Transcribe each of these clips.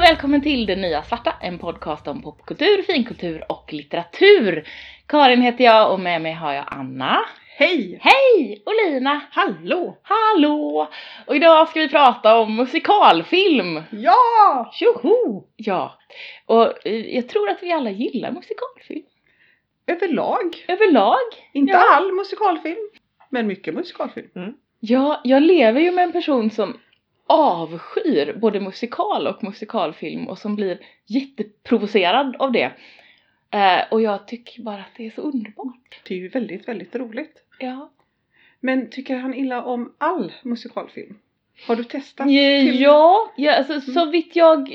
välkommen till Det Nya Svarta, en podcast om popkultur, finkultur och litteratur. Karin heter jag och med mig har jag Anna. Hej! Hej! Och Lina. Hallå! Hallå! Och idag ska vi prata om musikalfilm. Ja! Tjoho! Ja, och eh, jag tror att vi alla gillar musikalfilm. Överlag. Överlag. Inte Ja. all musikalfilm, men mycket musikalfilm. Mm. Ja, jag lever ju med en person som avskyr både musikal och musikalfilm och som blir jätteprovocerad av det. Eh, och jag tycker bara att det är så underbart. Det är ju väldigt, väldigt roligt. Ja. Men tycker han illa om all musikalfilm? Har du testat? till- Eh, Ja, ja alltså, så Mm. vitt jag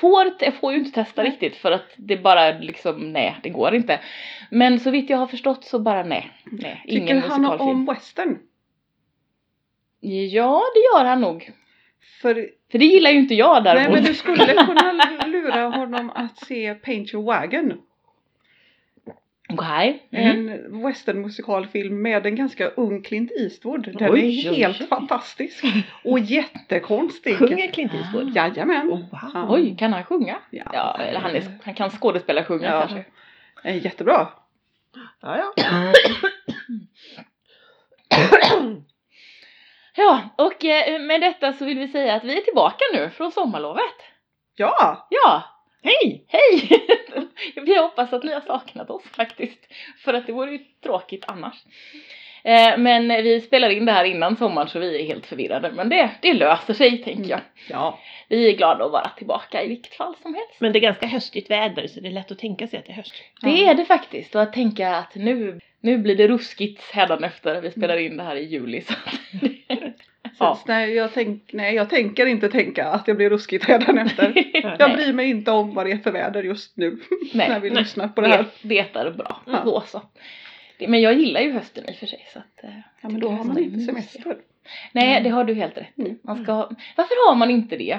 får, jag får ju inte testa Nej. riktigt för att det bara liksom, nej det går inte. Men så vitt jag har förstått så bara nej, nej, Tycker ingen han musikalfilm. om western? Ja, det gör han nog. För, För det gillar ju inte jag nej däremot. men du skulle kunna lura honom att se Paint Your Wagon. Okej. Mm. En westernmusikalfilm med en ganska ung Clint Eastwood. Den Oj, är oj, helt oj. fantastisk. Och jättekonstig. Sjunger Clint Eastwood? Jajamän. Oh, wow. Oj, kan han sjunga? Ja. Ja, eller han, är, han kan skådespela och sjunga Ja. kanske. Eh, Jättebra. Ja, Ja, och eh, med detta så vill vi säga att vi är tillbaka nu från sommarlovet. Ja, Ja, Hej! hej! vi hoppas att ni har saknat oss faktiskt, för att det vore ju tråkigt annars. Eh, Men vi spelar in det här innan sommaren så vi är helt förvirrade, men det, det löser sig Mm. tänker jag. ja. Vi är glada att vara tillbaka i vilket fall som helst. Men det är ganska höstigt väder så det är lätt att tänka sig att det är höst. Det Ja. är det faktiskt och att tänka att nu, nu blir det ruskigt hädanefter. Vi spelar Mm. in det här i juli så att Ja. Så, nej, jag tänk, nej, jag tänker inte tänka att det blir ruskigt hädanefter. Jag Nej. bryr mig inte om vad det är för väder just nu när Nej, vi nej. lyssnar på det här. det är bra. Ja. Då så. Det- Men jag gillar ju hösten i och för sig så att... eh, Ja, jag men tycker då har man hösten är mysig. inte semester. Nej, det har du helt rätt i. Mm. Man ska, ha- varför har man inte det?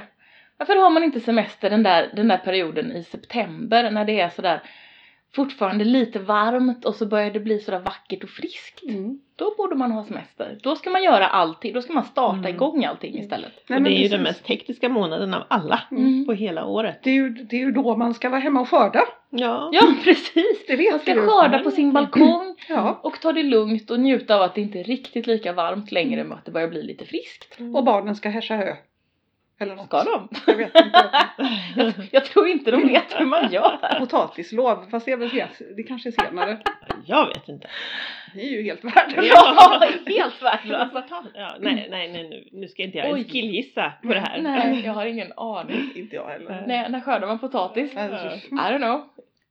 Varför har man inte semester den där, den där perioden i september när det är sådär fortfarande lite varmt och så börjar det bli sådär vackert och friskt? Mm. Då borde man ha semester. Då ska man göra allting, då ska man starta Mm. igång allting istället. Nej, och det men är ju precis. den mest hektiska månaden av alla Mm. på hela året. Det är, ju, det är ju då man ska vara hemma och skörda. Ja. Ja, precis! Det vet Man ska du. skörda på sin balkong Ja. och ta det lugnt och njuta av att det inte är riktigt lika varmt längre men att det börjar bli lite friskt. Och barnen ska häscha hö. Eller något. Ska de? Jag vet inte. Jag tror inte de vet hur man gör. Potatislov. Fast det, är väl ses, det kanske är senare. Jag vet inte. Ni är ju helt värdelösa. Ja, helt värdelös. Ja, Mm. nej, nej, nej nu, nu ska inte jag Oj. ens killgissa på det här. Nej, jag har ingen aning. Alltså, Inte jag heller. Nej, när skördar man potatis? I Nej. don't know.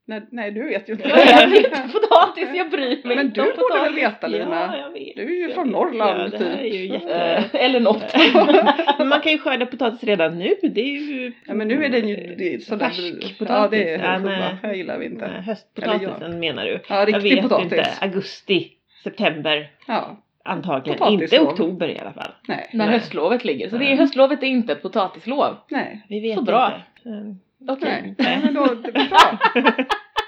Nej, nej du vet ju inte. Jag äter inte potatis, jag bryr mig Men inte du om borde väl potatis. veta Lina? Ja, jag vet. Du är ju Jag från vet. Norrland, Ja, det här är typ. ju jätte... Eh, Eller något. Men man kan ju skörda potatis redan nu. Det är ju... Ja men nu är den ju det är sån där- Färsk Ja det potatis. Ja, är nej. ja, jag gillar vi inte. Nej, Höstpotatisen Eller menar du. Ja Jag riktig vet potatis. inte. Augusti, september Ja, antagligen. Potatis inte då. oktober i alla fall. nej, När Nej. höstlovet ligger. Så det är, Nej. höstlovet är inte ett potatislov. nej. Vi vet Så bra. inte. Mm. Okej. Nej, Nej. nej men då, det blir bra.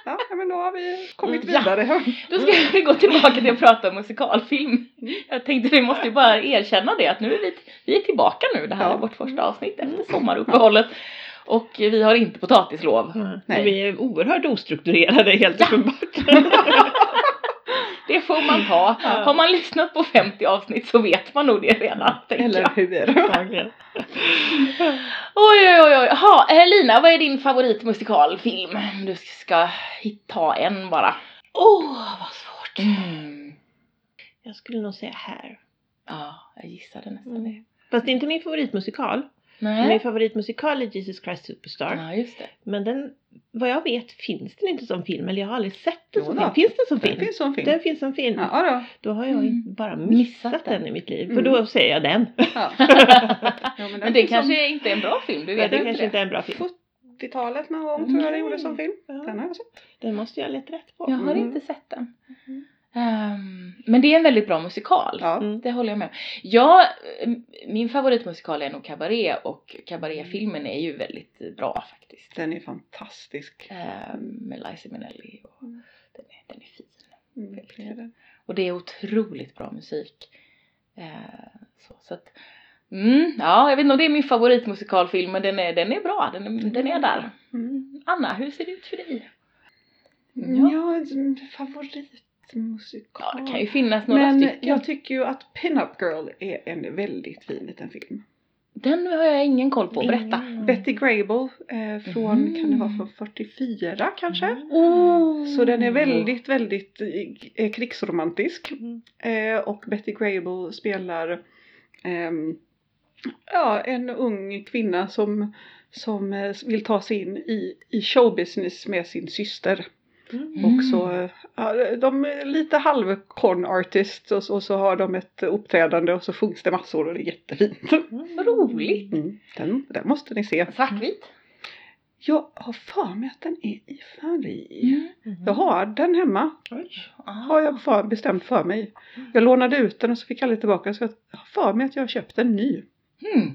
Ja nej, men då har vi kommit Ja. vidare. Då ska vi gå tillbaka till att prata om musikalfilm. Jag tänkte vi måste ju bara erkänna det att nu är vi, vi är tillbaka nu. Det här Ja. är vårt första avsnitt efter sommaruppehållet. Och vi har inte potatislov. Nej. Nej. Vi är oerhört ostrukturerade helt Ja. uppenbart. Det får man ta. Ja. Har man lyssnat på 50 avsnitt så vet man nog det redan. tänker Eller jag. hur? Antagligen. Oj oj oj. oj. Ha, eh, Lina, vad är din favoritmusikalfilm? Du ska hitta en bara. Åh, vad svårt. Mm. Jag skulle nog säga här. Ja, jag gissade nästan Mm. det. Fast det är inte min favoritmusikal. Min Mm. Nej. favoritmusikal är Jesus Christ Superstar. Ja, just det. Men den, vad jag vet finns den inte som film. Eller jag har aldrig sett den Jo som då. film. Finns den som Det film? finns sån film. Den finns som film. Ja då. Då har jag Mm. bara Missat missat, den. den i mitt liv. Mm. För då säger jag den. Ja. Ja, den Men det finns som kanske inte är en bra film, du Ja, vet det ju inte kanske det. inte är en bra film. 70-talet någon gång tror jag det gjordes som film. Den Ja, har jag sett. den måste jag leta rätt på. Jag har Mm. Mm-hmm. inte sett den. Ehm, men det är en väldigt bra musikal. Ja. Mm. Det håller jag med om. Jag, eh, min favoritmusikal är nog Cabaret och Cabaret-filmen Mm. är ju väldigt bra faktiskt. Den är fantastisk. Ehm, med Liza Minnelli och den, är, den är fin. Mm, det är den. Och det är otroligt bra musik. Ehm, så, så att Mm, ja, jag vet inte om det är min favoritmusikalfilm men den är, den är bra, den, är- den är där. Mm. Anna, hur ser det ut för dig? Ja, mm, favoritmusikal. Ja, det kan ju finnas några Men stycken. jag tycker ju att Pin-Up Girl är en väldigt fin liten Mm. film. Den har jag ingen koll på, berätta. Mm. Betty Grable eh, från, Mhm. kan det vara från 44 kanske? Oh. Mm. Så den är väldigt, väldigt eh, krigsromantisk. Mm. Eh, och Betty Grable spelar ehm, ja, en ung kvinna som, som eh, vill ta sig in i, i showbusiness med sin syster. Mm. Mm. Och så, eh, ja, de är lite halvcon artists och, så- och så har de ett uppträdande och så sjungs det massor och det är jättefint. Vad roligt. Mm, den, den måste ni se. Svartvit. Jag har för mig att den är i färg. Mm. Jag har den hemma. Oj. har jag för, bestämt för mig. Jag lånade ut den och så fick jag aldrig tillbaka så jag har för mig att jag har köpt en ny. Mm.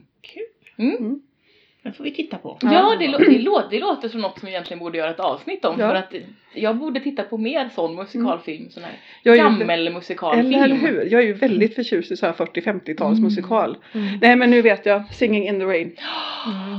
Mm. Den får vi titta på. Ja. Ja, det, lå- det, lå- det låter som något som vi egentligen borde göra ett avsnitt om Ja. för att jag borde titta på mer sån musikalfilm, sån här Jag är ju- gammelmusikalfilm. Eller hur? Jag är ju väldigt förtjust i så här 40-50-tals Mm. musikal. Nej men nu vet jag, Singing in the Rain.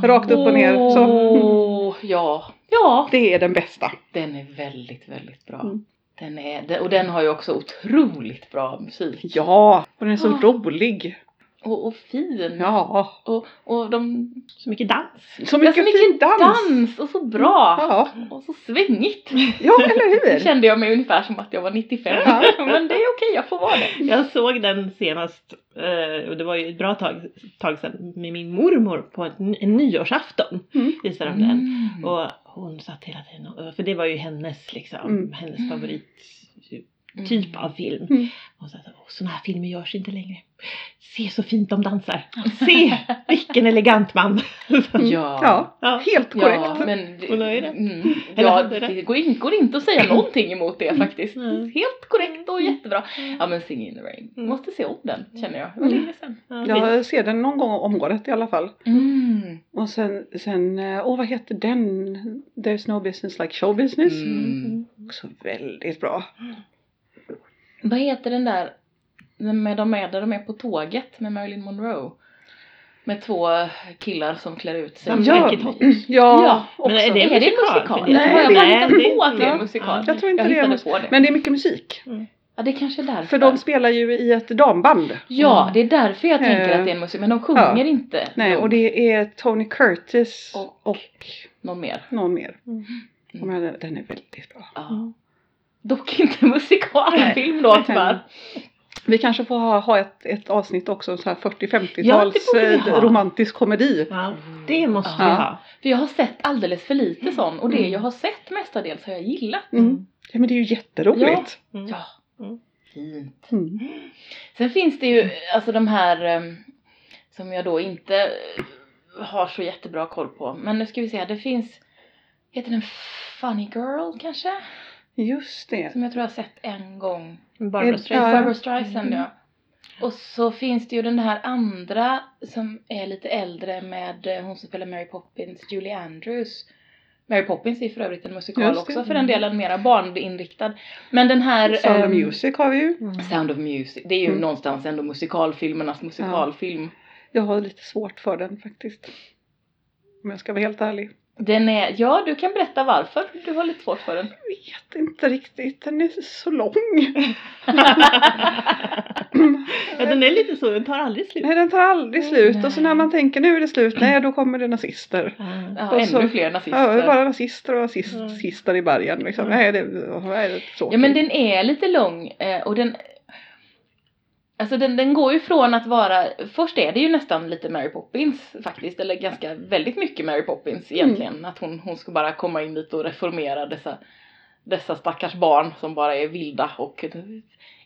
Rakt upp och ner. Så. Åh, ja. Ja, Det är den bästa. den är väldigt, väldigt bra. Mm. Den är, den- och den har ju också otroligt bra musik. Ja! Och den är så Ah. rolig. Och, och fin. Ja! Och, och de... Så mycket dans. Så det är mycket, fin dans! dans! Och så bra! Ja. Och så svängigt! ja, eller hur? kände jag mig ungefär som att jag var 95. Ja. Men det är okej, jag får vara det. Jag såg den senast, eh, och det var ju ett bra tag, tag sedan, med min mormor på en, en nyårsafton. Mm. Visade de den. Mm. Och hon satt hela tiden och, för det var ju hennes liksom, Mm. hennes favorittyp typ av film. Mm. Hon sa att sådana här filmer görs inte längre. Se så fint de dansar! Se vilken elegant man! Mm. Ja. Ja. ja. helt korrekt. Ja, men det, Hon har ju rätt. Mm, Eller ja, hade rätt. det går, in, går inte att säga någonting emot det faktiskt. Mm. Helt korrekt och jättebra. Ja men Sing in the rain. Mm. Måste se om den känner jag. Det var Mm. länge sedan. visst. Jag ser den någon gång om året i alla fall. Mm. Och sen, sen eh, åh vad heter den? There's no business like show business. Mm. Också väldigt bra. Vad heter den där den med de är, där de är på tåget med Marilyn Monroe? Med två killar som klär ut sig. Ja, Ja. Jacket Hot. Ja, också. Men är det, Är det en musikal? musikal? För det- Nej, har jag det bara är- hittat på att det är en ja. musikal. Jag tror inte jag det är hittade mus- på det. Men det är mycket musik. ja, det kanske är därför. För de spelar ju i ett damband. Ja, Mm. det är därför jag tänker Eh, att det är en musik, men de sjunger ja. inte Nej, nog. och det är Tony Curtis Och- och, någon mer. någon mer. Mm. Men den- den är väldigt bra. Ja. Dock inte musikalfilm då tyvärr. Vi kanske får ha, ha ett, ett avsnitt också, en så här 40-50-tals Ja, det borde vi eh, ha. romantisk komedi. Ja, det måste Ja. vi ha. För jag har sett alldeles för lite sån och det Mm. jag har sett mestadels har jag gillat. Mm. Ja, men det är ju jätteroligt. Mm. Ja. Mm. Fint. Mm. Sen finns det ju alltså de här ehm, som jag då inte eh, har så jättebra koll på. Men nu ska vi se, här, det finns Heter den Funny Girl kanske? Just det. Som jag tror jag har sett en gång. Barbara Ett- Streisand. Ja. Mm. Barbra Streisand ja. Och så finns det ju den här andra som är lite äldre med eh, hon som spelar Mary Poppins, Julie Andrews. Mary Poppins är för övrigt en musikal Just det. också för den delen, mera barninriktad. Men den här... Sound of ehm, Music har vi ju. Sound of Music, det är ju Mm. någonstans ändå musikalfilmernas musikalfilm. Jag har lite svårt för den faktiskt. Om jag ska vara helt ärlig. Den är, ja du kan berätta varför du har lite svårt för den. Jag vet inte riktigt, den är så lång. ja, den är lite så, den tar aldrig slut. Nej den tar aldrig slut och så när Nej. man tänker nu är det slut, nej då kommer det nazister. Ja. Ja, Och så- ännu fler Ja, nazister. det är bara nazister och Mm. nazister i början liksom. Mm. Nej det, nej, det är tråkigt. Ja men den är lite lång eh, och den Alltså den, den går ju från att vara, först är det ju nästan lite Mary Poppins faktiskt, eller ganska väldigt mycket Mary Poppins egentligen. Att hon, hon ska bara komma in dit och reformera dessa, dessa stackars barn som bara är vilda och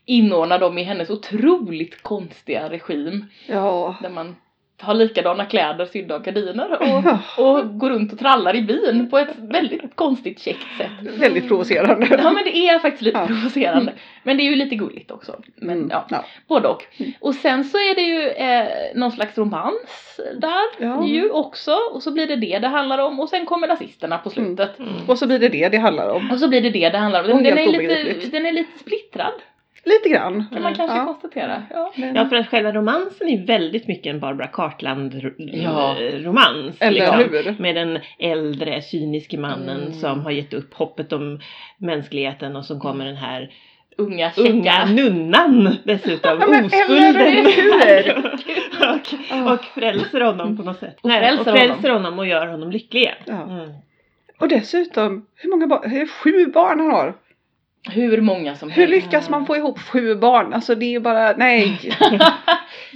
inordna dem i hennes otroligt konstiga regim. Ja. Där man har likadana kläder, sydda av gardiner och, Ja, och går runt och trallar i byn på ett väldigt konstigt käckt sätt. Väldigt provocerande. Ja men det är faktiskt lite Ja. provocerande. Men det är ju lite gulligt också. Men Mm, ja, ja. både och. Mm. Och sen så är det ju eh, någon slags romans där Ja. ju också. Och så blir det det det handlar om. Och sen kommer nazisterna på slutet. Mm. Och så blir det det det handlar om. Och så blir det det det handlar om. Den, Och den, helt är lite, obegripligt. den är lite splittrad. Lite grann. kan man Mm, kanske ja. konstatera. Ja. Men, Ja, för att själva romansen är väldigt mycket en Barbara Ja. Cartland-romans. eller liksom. hur? Med den äldre cyniske mannen Mm. som har gett upp hoppet om mänskligheten och som kommer den här Unga tjecka. unga nunnan dessutom, Ja, men oskulden. eller och, och frälser honom på något sätt. Och Nej, frälser och frälser honom. och gör honom lycklig. Ja. Mm. Och dessutom, hur många barn? det är Sju barn han har. Hur många som Hur helst. lyckas man få ihop sju barn? Alltså det är ju bara, nej.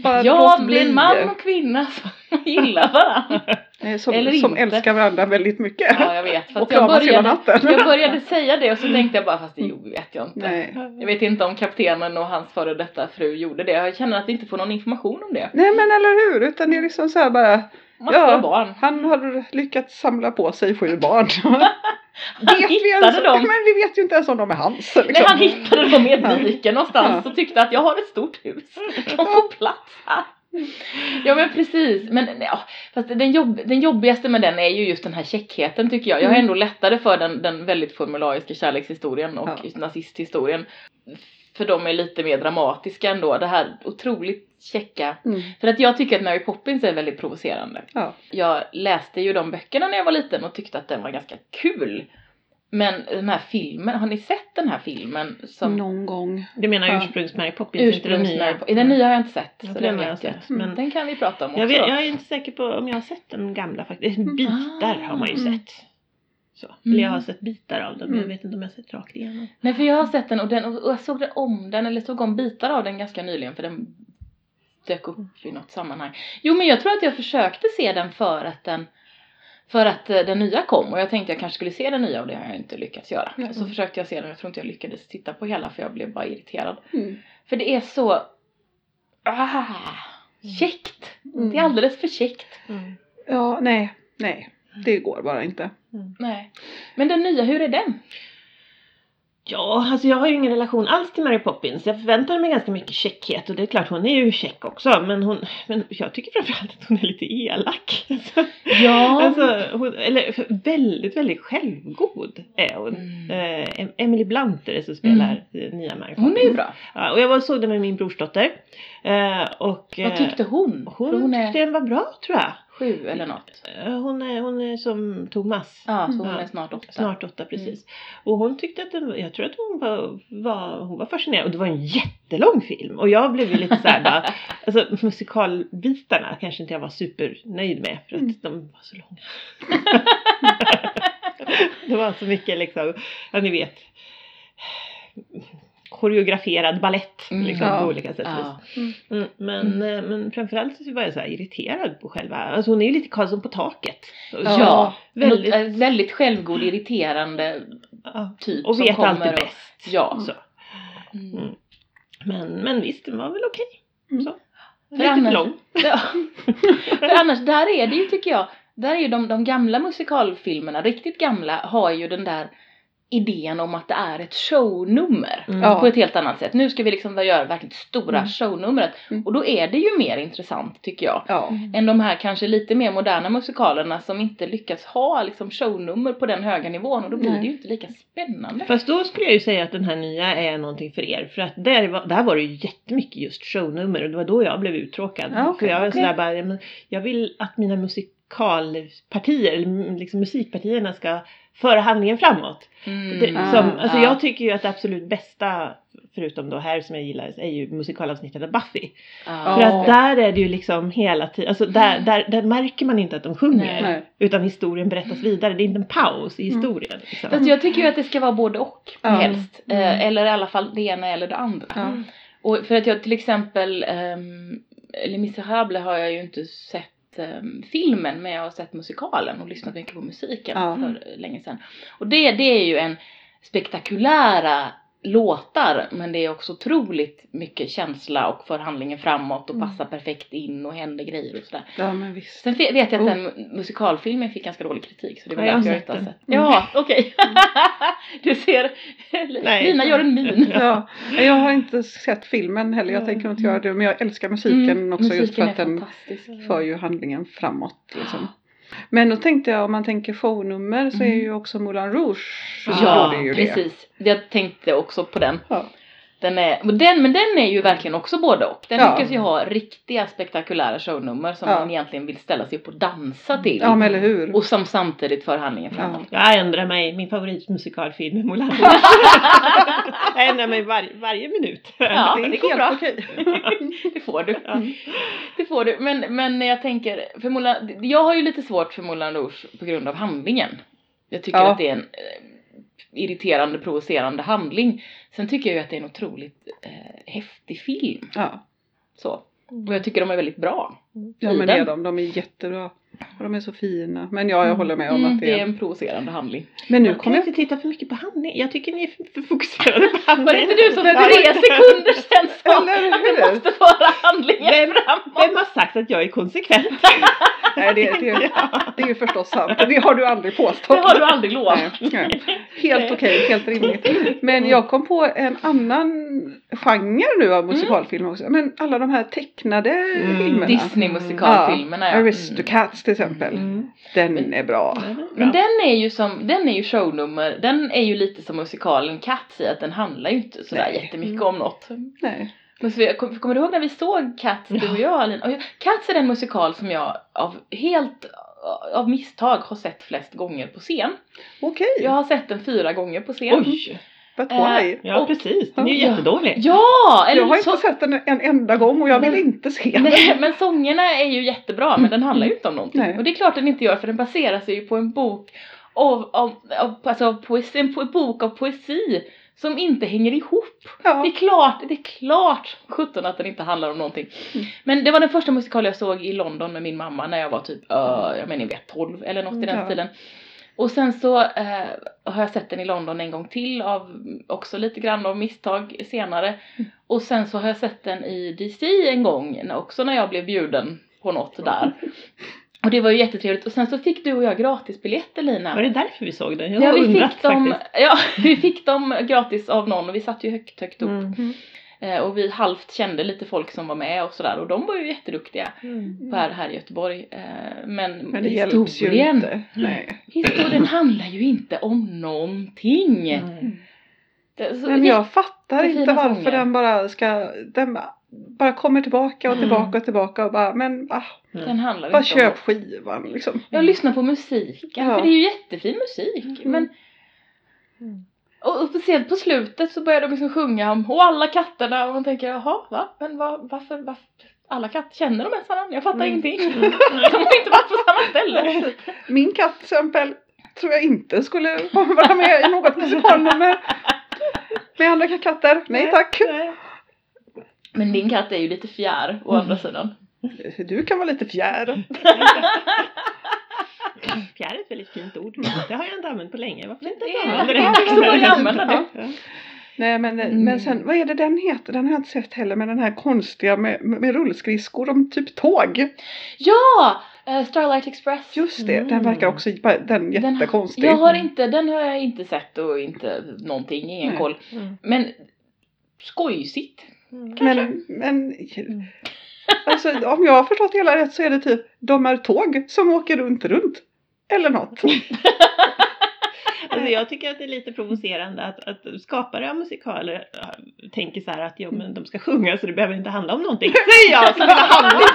bara Ja, låt bli en bli. man och kvinna som gillar varandra. Eh, Som, eller som inte. älskar varandra väldigt mycket. Ja, jag vet. Fast och jag kramas hela började, natten. Mm. jag började säga det och så tänkte jag bara, fast det gjorde- vet jag inte. Nej. Jag vet inte om kaptenen och hans före detta fru gjorde det. Jag känner att vi inte får någon information om det. nej men eller hur, utan det är liksom så här bara, Massor Ja. av barn. han har lyckats samla på sig sju barn. Han hittade ens, dem. Men vi vet ju inte ens om de är hans. Liksom. Nej, han hittade dem i Ja. ett dike någonstans Ja. och tyckte att jag har ett stort hus. De får plats här. Ja men precis, men ja, fast den, jobb, den jobbigaste med den är ju just den här käckheten tycker jag. Jag har Mm. ändå lättare för den, den väldigt formulariska kärlekshistorien och Ja. nazisthistorien. För de är lite mer dramatiska ändå, det här otroligt käcka. Mm. För att jag tycker att Mary Poppins är väldigt provocerande. Ja. Jag läste ju de böckerna när jag var liten och tyckte att den var ganska kul. Men den här filmen, har ni sett den här filmen? Som Någon gång. Du menar Ja. ursprungs-Mary Poppins, inte den nya? ursprungsmärk? Den, den nya har jag inte sett. Ja, så den den, har jag vet jag. sett, Mm. men- den kan vi prata om också. Mm. Jag, vet, jag är inte säker på om jag har sett den gamla faktiskt. Bitar har man ju Ah. Mm. sett. Så. Eller jag har sett bitar av den men jag Mm. vet inte om jag har sett rakt igenom. Nej för jag har sett den och, den och jag såg den om den eller såg om bitar av den ganska nyligen för den dök upp i något sammanhang. Jo men jag tror att jag försökte se den för att den för att eh, den nya kom och jag tänkte jag kanske skulle se den nya och det har jag inte lyckats göra. Mm. Så försökte jag se den och jag tror inte jag lyckades titta på hela för jag blev bara irriterad. Mm. För det är så... Ah, käckt! Det är alldeles för käckt. Mm. Ja, nej, nej. Det går bara inte. Mm. Nej. Men den nya, hur är den? Ja, alltså jag har ju ingen relation alls till Mary Poppins. Jag förväntade mig ganska mycket käckhet och det är klart hon är ju käck också men, hon, men jag tycker framförallt att hon är lite elak. Ja. Alltså, hon, eller väldigt, väldigt självgod är hon. Mm. Eh, Em- Emily Blunt är det som spelar eh, nya Mary Hon är Poppins. ju bra. Ja, och jag var och såg den med min brorsdotter. Eh, och, Vad tyckte hon? hon? För Hon är tyckte den var bra tror jag. sju eller något. Eh, Hon är, hon är som Thomas. Ja, så hon Ja. är snart åtta. Mm. Mm. Snart åtta precis. Och hon tyckte att den var, jag tror att hon var, var, hon var fascinerad. Och det var en jättelång film. Och jag blev ju lite såhär bara, alltså musikalbitarna kanske inte jag var supernöjd med. För att Mm. de var så långa. det var så mycket liksom, ja ni vet. Koreograferad ballett Mm. liksom, Ja. på olika sätt. och vis. Ja. Mm, men, eh, men framförallt så var jag så här irriterad på själva, alltså hon är ju lite Karlsson på taket. Så, Ja, väldigt- väldigt, väldigt självgod, irriterande ja. typ Och som vet kommer alltid och- bäst. Ja. Så. Mm. Men, men visst, den var väl okej. Mm. Så. För Lite för annars- lång. Ja. För annars, där är det ju tycker jag, där är ju de, de gamla musikalfilmerna, riktigt gamla, har ju den där idén om att det är ett shownummer. Mm. Ja. På ett helt annat sätt. Nu ska vi liksom göra verkligen stora Mm. shownumret. Mm. Och då är det ju mer intressant tycker jag. Ja. Mm. Än de här kanske lite mer moderna musikalerna som inte lyckats ha liksom shownummer på den höga nivån. Och då blir Nej. det ju inte lika spännande. Fast då skulle jag ju säga att den här nya är någonting för er. För att där var, där var det ju jättemycket just shownummer och det var då jag blev uttråkad. Ja, okej, för jag var okej. sådär bara, "Ja, men jag vill att mina musikalpartier, eller m- liksom musikpartierna ska föra handlingen framåt. Mm. Det, Ah, som, alltså ja. jag tycker ju att det absolut bästa, förutom då här som jag gillar, är ju musikalavsnittet av Buffy. Ja. För att det- där är det ju liksom hela tiden, alltså där, Mm. där, där märker man inte att de Nej. sjunger. Nej. Utan historien berättas vidare, det är inte en paus i Mm. historien. Liksom. Fast jag tycker ju att det ska vara både och Ja. helst. Eh, Mm. Eller i alla fall det ena eller det andra. Ja. Och för att jag till exempel, um, Les Misérables har jag ju inte sett ehm, filmen men jag har sett musikalen och lyssnat mycket på musiken Ja. för eh, länge sedan. Och det, det är ju en spektakulära låtar men det är också otroligt mycket känsla och för handlingen framåt och Mm. passar perfekt in och händer grejer och sådär. ja, men visst. Sen fe- vet jag att Oh. den mu- musikalfilmen fick ganska dålig kritik så det var Ja, jag har därför jag sett inte har den. sett. Mm. Ja, okej. du ser, Nej. Lina gör en min. Ja, jag har inte sett filmen heller, jag Ja. tänker inte göra det. Men jag älskar musiken också just för Mm. musiken att är den fantastisk. för ju handlingen framåt. Liksom. Men då tänkte jag om man tänker shownummer så är Mm. ju också Moulin Rouge. så Ja, gjorde ju det. precis. Jag tänkte också på den. Ja. Den är, men den, men den är ju verkligen också både och. Den Ja. lyckas ju ha riktiga spektakulära shownummer som Ja. man egentligen vill ställa sig upp och dansa till. Ja, men eller hur? Och som samtidigt för handlingen framåt. Ja. Jag ändrar mig, min favoritmusikalfilm är Moulin Rouge. Jag ändrar mig varje- varje minut. Ja, det går helt bra. okej. Det får du. Ja. Det får du. Men, men jag tänker, för Moulin, jag har ju lite svårt för Moulin Rouge på grund av handlingen. Jag tycker Ja. att det är en eh, irriterande, provocerande handling. Sen tycker jag ju att det är en otroligt eh, häftig film. ja. Så. Och jag tycker de är väldigt bra. Mm. ja, men Iden. det är de. De är jättebra. Och de är så fina. Men ja, jag håller med om Mm, att det är... en provocerande handling. Men nu Nu kommer kommer jag inte titta för mycket på handling. Jag tycker ni är för- för fokuserade på handling. Var det inte du som Men- för tre sekunder sedan sa Eller att det hur? måste vara handlingen Vem- framåt? Vem har sagt att jag är konsekvent? Nej, det, det, det är ju förstås sant. Det har du aldrig Det påstått. har du aldrig lovat. Nej, nej. Helt okej, helt rimligt. Men jag kom på en annan genre nu av musikalfilmer också. Men alla de här tecknade Mm. filmerna. Disney-musikalfilmerna ja. Mm. Aristocats till exempel. Mm. Den är bra. Nej, Mm. det är bra. Men den är ju som, den är ju shownummer, den är ju lite som musikalen Cats i att den handlar ju inte sådär Nej. jättemycket Mm. om något. Nej. Men så, jag kom- kommer du ihåg när vi såg Cats, du och jag Alin? Och jag- Cats är den musikal som jag av helt av misstag har sett flest gånger på scen. Okej, Jag har sett den fyra gånger på scen. Oj! but Eh, why? Ja Och- precis, den är ju Ja. jättedålig. Ja! Eller jag har så, inte sett den en enda gång och jag vill Men- inte se den. Nej, men sångerna är ju jättebra men den handlar ju inte om någonting. Nej. Och det är klart den inte gör för den baserar sig ju på en bok av, av, av, alltså av poesi, en po- bok av poesi som inte hänger ihop. Det är Ja. klart, det är klart sjutton att den inte handlar om någonting. Mm. Men det var den första musikal jag såg i London med min mamma när jag var typ, uh, jag menar ni vet 12 eller något i den Ja. stilen. Och sen så eh, har jag sett den i London en gång till av också lite grann av misstag senare. Mm. Och sen så har jag sett den i DC en gång när- också när jag blev bjuden på något där. Och det var ju jättetrevligt och sen så fick du och jag gratisbiljetter Lina. Var det därför vi såg den? Jag Ja har vi, undrat fick dem, faktiskt. ja, vi fick dem gratis av någon och vi satt ju högt, högt upp. Mm. Eh, och vi halvt kände lite folk som var med och sådär och de var ju jätteduktiga Mm. här, här i Göteborg. Eh, men, Men det hjälps ju inte. Nej. historien handlar ju inte om någonting. Mm. Det, så, Men jag fattar Jättefina inte varför sånger. den bara ska, den bara kommer tillbaka och Mm. tillbaka och tillbaka och bara, men ah, Den handlar bara inte om köp något. skivan liksom. Jag lyssnar på musiken, Ja. för det är ju jättefin musik. Mm. Men, Mm. och, och speciellt på slutet så börjar de liksom sjunga om och alla katterna och man tänker jaha, va? Men vad- varför, varför? Alla katter, känner de ens varandra? Jag fattar Mm. ingenting. De har inte varit på samma ställe. Min katt till exempel tror jag inte skulle vara med i något musikalnummer. Med andra katter, nej tack. Nej. Men din katt är ju lite fjär å andra sidan. Du kan vara lite fjär. Fjär är ett väldigt fint ord. Det har jag inte använt på länge. Varför inte Det är- använda det är dags att börja använda det. Ja. Nej men, eh, men sen, vad är det den heter? Den har jag inte sett heller, men den här konstiga med, med rullskridskor om typ tåg. Ja! eh, Starlight Express. Just det, den Mm. verkar också, den är Den- jättekonstig. Jag har inte, den har jag inte sett och inte någonting, ingen Nej. koll. Mm. Men skojsigt. Mm. Men, men alltså, om jag har förstått det hela rätt så är det typ de är tåg som åker runt runt. Eller något. Alltså jag tycker att det är lite provocerande att, att skapare av musikaler äh, tänker så här att jo, men de ska sjunga så det behöver inte handla om någonting. Säger jag som vill ha handling!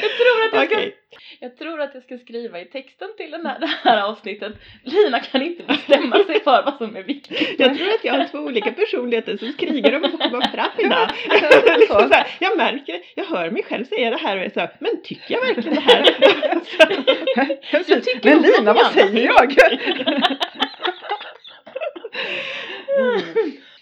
Jag tror, att jag, ska, Okej. jag tror att jag ska skriva i texten till den här, det här avsnittet. Lina kan inte bestämma sig för vad som är viktigt. Jag tror att jag har två olika personligheter som krigar om att få komma fram idag. Så. liksom så här, jag märker, det. jag hör mig själv säga det här och jag så här, men tycker jag verkligen det här? Jag tycker Men nog Lina, något vad säger jag? Mm.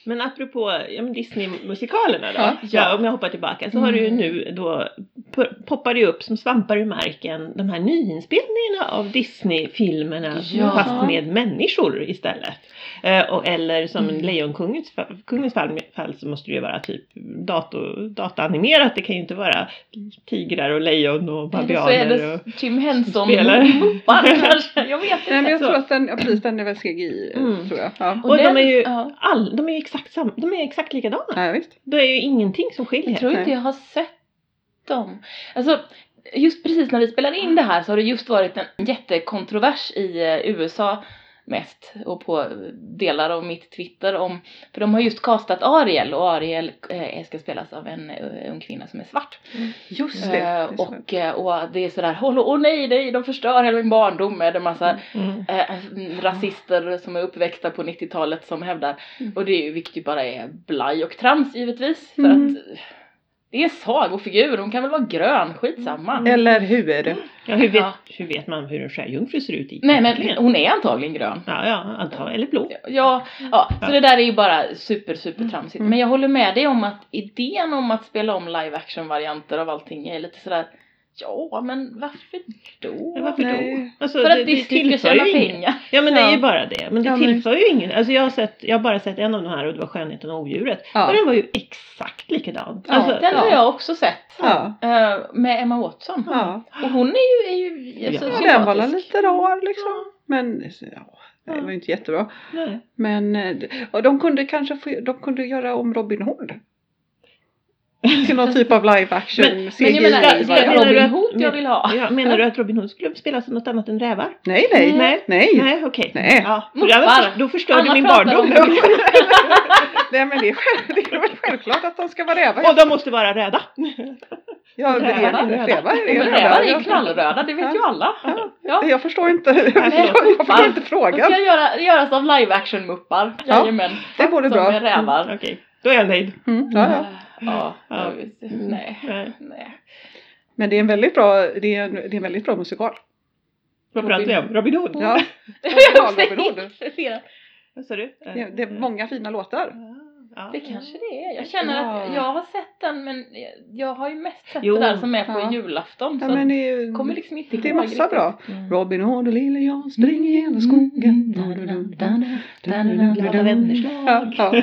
Men apropå ja, men Disney-musikalerna då. Ja. Ja, om jag hoppar tillbaka så har du ju Mm. nu då po- poppar det ju upp som svampar ur marken de här nyinspelningarna av Disney-filmerna Ja. fast med människor istället. Eh, och, eller som mm. Lejonkungens fa- kungens fall, fall så måste det ju vara typ dator, dataanimerat. Det kan ju inte vara tigrar och lejon och Eller så är babianer. det Och... Tim Henson spelar. muppar kanske. Jag vet Nej, inte. men jag Så. tror att den, ja, precis, den är väl CGI Mm. tror jag. Ja. och de är ju- ja. All, de är ju exakt, sam, de är exakt likadana. Nej, visst. Det är ju ingenting som Jag skiljer. tror inte jag har sett dem. Alltså, just precis när vi spelar in det här så har det just varit en jättekontrovers i eh, USA mest och på eh, delar av mitt Twitter om, för de har just castat Ariel och Ariel eh, ska spelas av en eh, ung kvinna som är svart. Just det. det Eh, är så. och, eh, och det är sådär, håll, åh nej, nej, de förstör hela min barndom med en massa Mm. eh, rasister som är uppväxta på 90-talet som hävdar. Mm. Och det är ju vilket ju bara är blaj och trams givetvis. För Mm. att eh, det är sagofigur, hon kan väl vara grön, skitsamma. Mm. Eller hur? Ja, hur, vet, Ja. hur vet man hur en sjöjungfru ser ut i? Nej men hon är antagligen grön. Ja, ja, antagligen. Eller blå. Ja, ja, så det där är ju bara super, super tramsigt. Mm. Men jag håller med dig om att idén om att spela om live action-varianter av allting är lite sådär Ja, men varför då? Men varför nej. då? Alltså, För att Disney ska tillför tjäna ju inget. pengar. Ja men det är Ja. ju bara det. Men det Ja, men- tillför ju ingen. Alltså jag har, sett, jag har bara sett en av de här och det var Skönheten och odjuret. Och Ja. den var ju exakt likadan. Ja, alltså, Den har jag också sett. Ja. eh, med Emma Watson. Ja. Och hon är ju, är ju alltså, Ja, ja. Den var sympatisk. lite rar liksom. Men ja, det var ju inte jättebra. Nej. Men eh, och de kunde kanske få, de kunde göra om Robin Hood. Till någon typ av live action. Men- men jag Men CGI jag menar, Menar det är du Robin att- Hood jag vill ha. Ja, menar du att Robin Hood skulle spela som något annat än rävar? Nej, nej, Nej. nej, nej. Nej okej. Nej. Ja, för Morfar. jag var- då förstör du Anna min pratar barndom. om nej men det är, själv, det är väl självklart att de ska vara rävar. Och de måste vara rädda. Mm. Ja, det är rävar, rävar. rävar Ja, Men är rävar är ju jag- knallröda, det vet ju alla. Ja. Jag förstår inte, jag förstår, jag muppar. förstår inte De ska frågan. göra, göras av live action-muppar. Ja, Jajamän. det vore Som bra. är rävar. Eh, Okej, då är jag nöjd. Mm, ja, ja. Mm. Ja, Ja. ja. visst. Nej. Nej. Nej. Men det är en väldigt bra, det är en, det är en väldigt bra musikal. Vad Robin- pratar vi om? Robin Hood? Ja, Jag Robin Hood. blir förvirrad. Vad sa du? det, är- det är många fina låtar. Ja. Det kanske det är. Jag känner att Ja. jag har sett den men jag har ju mest sett Jo, det där som är på ja. julafton. Så Ja, att men det är, ju- jag kommer liksom inte det är ihåg Mm. massa bra. Mm. Robin Hood och lille Jan springer genom skogen. Glada vänners lag. Ja, ja.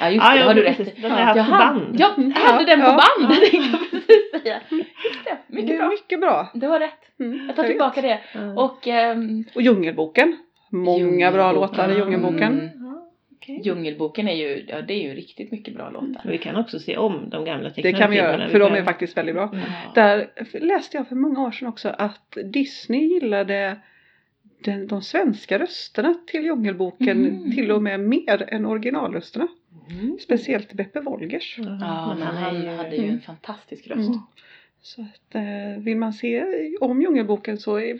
Ja just det, har du rätt i. Den har jag haft på Jaha, band. Ja, jag hade den på Ja. band tänkte jag precis säga. Just det, det mycket är bra. mycket bra. Du har rätt. Mm, Jag tar vet. tillbaka det. Mm. Och ehm, Och Djungelboken. Många bra Djungelboken. låtar i Djungelboken. Mm. Ja, okej. Djungelboken är ju, ja det är ju riktigt mycket bra låtar. Och Vi kan också se om de gamla Det tecknade kan vi göra, filmerna. för de kan- är faktiskt väldigt bra. Mm. Där läste jag för många år sedan också att Disney gillade den, de svenska rösterna till Djungelboken Mhm. till och med mer än originalrösterna. Mm. Speciellt Beppe Wolgers. Ja, men Mm. han hade ju en fantastisk röst. Mm. Så att, eh, vill man se om Djungelboken så är,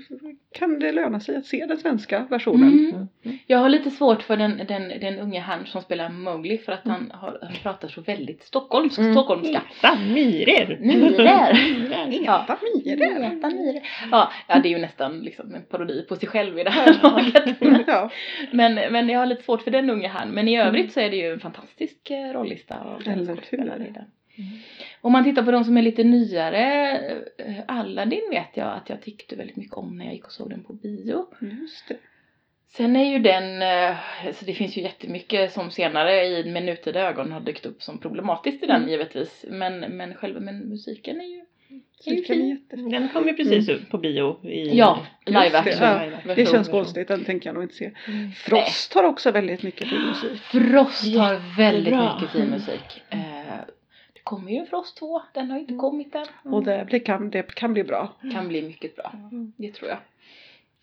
kan det löna sig att se den svenska versionen. Mm. Jag har lite svårt för den, den, den unge han som spelar Mowgli för att han, har, han pratar så väldigt stockholmsk, Mm. stockholmska. Etta myror. Mm. Myror. Myror. Ja. Vad är det? Leta nyre. Ja, ja, det är ju nästan liksom en parodi på sig själv i det här laget. Men- Ja, Men, men jag har lite svårt för den unge han. Men Mm. i övrigt så är det ju en fantastisk eh, rollista av Eller hur? skådespelare i den. Mm. Om man tittar på de som är lite nyare, eh, Aladdin vet jag att jag tyckte väldigt mycket om när jag gick och såg den på bio. Mm, just det. Sen är ju den, eh, så det finns ju jättemycket som senare i med nutida ögon har dykt upp som problematiskt i den Mm. givetvis. Men, men själva men musiken är ju, är ju Det, kan fin. jätte... Den kom ju precis upp på bio i... Mm. Ja, Mm. Just live det, action. ja. version. det känns konstigt, den tänker jag nog inte se. Mm. Frost har också väldigt mycket fin musik. Frost har väldigt Jättebra. mycket Mm. fin musik. Eh, Det kommer ju en Frost 2, den har inte Mm. kommit än. Och det, blir- kan, det kan bli bra. Kan bli mycket bra, det tror jag.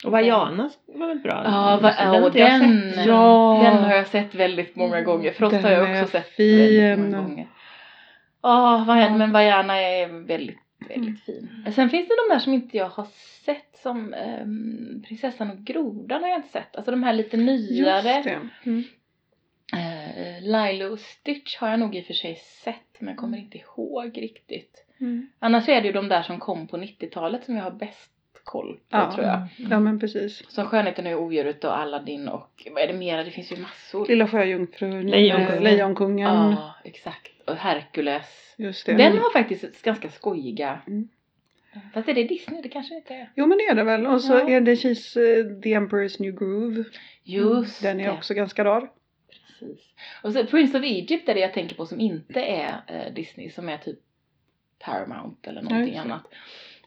Och Vajana var väl bra? Ja, va, Den har och inte jag Mm. den, sett. Ja. den har jag sett väldigt många gånger. Frost Den har jag är också sett väldigt fin. många gånger. Ja, Mm. vad händer, Ja. men Vajana är väldigt, väldigt fin. Sen finns det de där som inte jag har sett som ehm, Prinsessan och Grodan har jag inte sett. Alltså de här lite nyare. det. Mm. Eh, Lilo och Stitch har jag nog i och för sig sett men jag kommer inte ihåg riktigt. Mm. Annars är det ju de där som kom på 90-talet som jag har bäst koll på Ja. tror jag. Ja men precis. Som Skönheten och odjuret och Aladdin och vad är det mera? Det finns ju massor. Lilla Sjöjungfrun, Lejonkungen. eh, Lejonkungen. Ja, exakt. Och Hercules. Just det. Den har faktiskt ganska skojiga. Mm. Fast är det Disney? Det kanske inte är. Jo men det är det väl. Och så Ja. är det Kis eh, The Emperor's New Groove. Just Den det. är också ganska rar. Precis. Och så Prince of Egypt är det jag tänker på som inte är eh, Disney som är typ Paramount eller någonting just det. annat.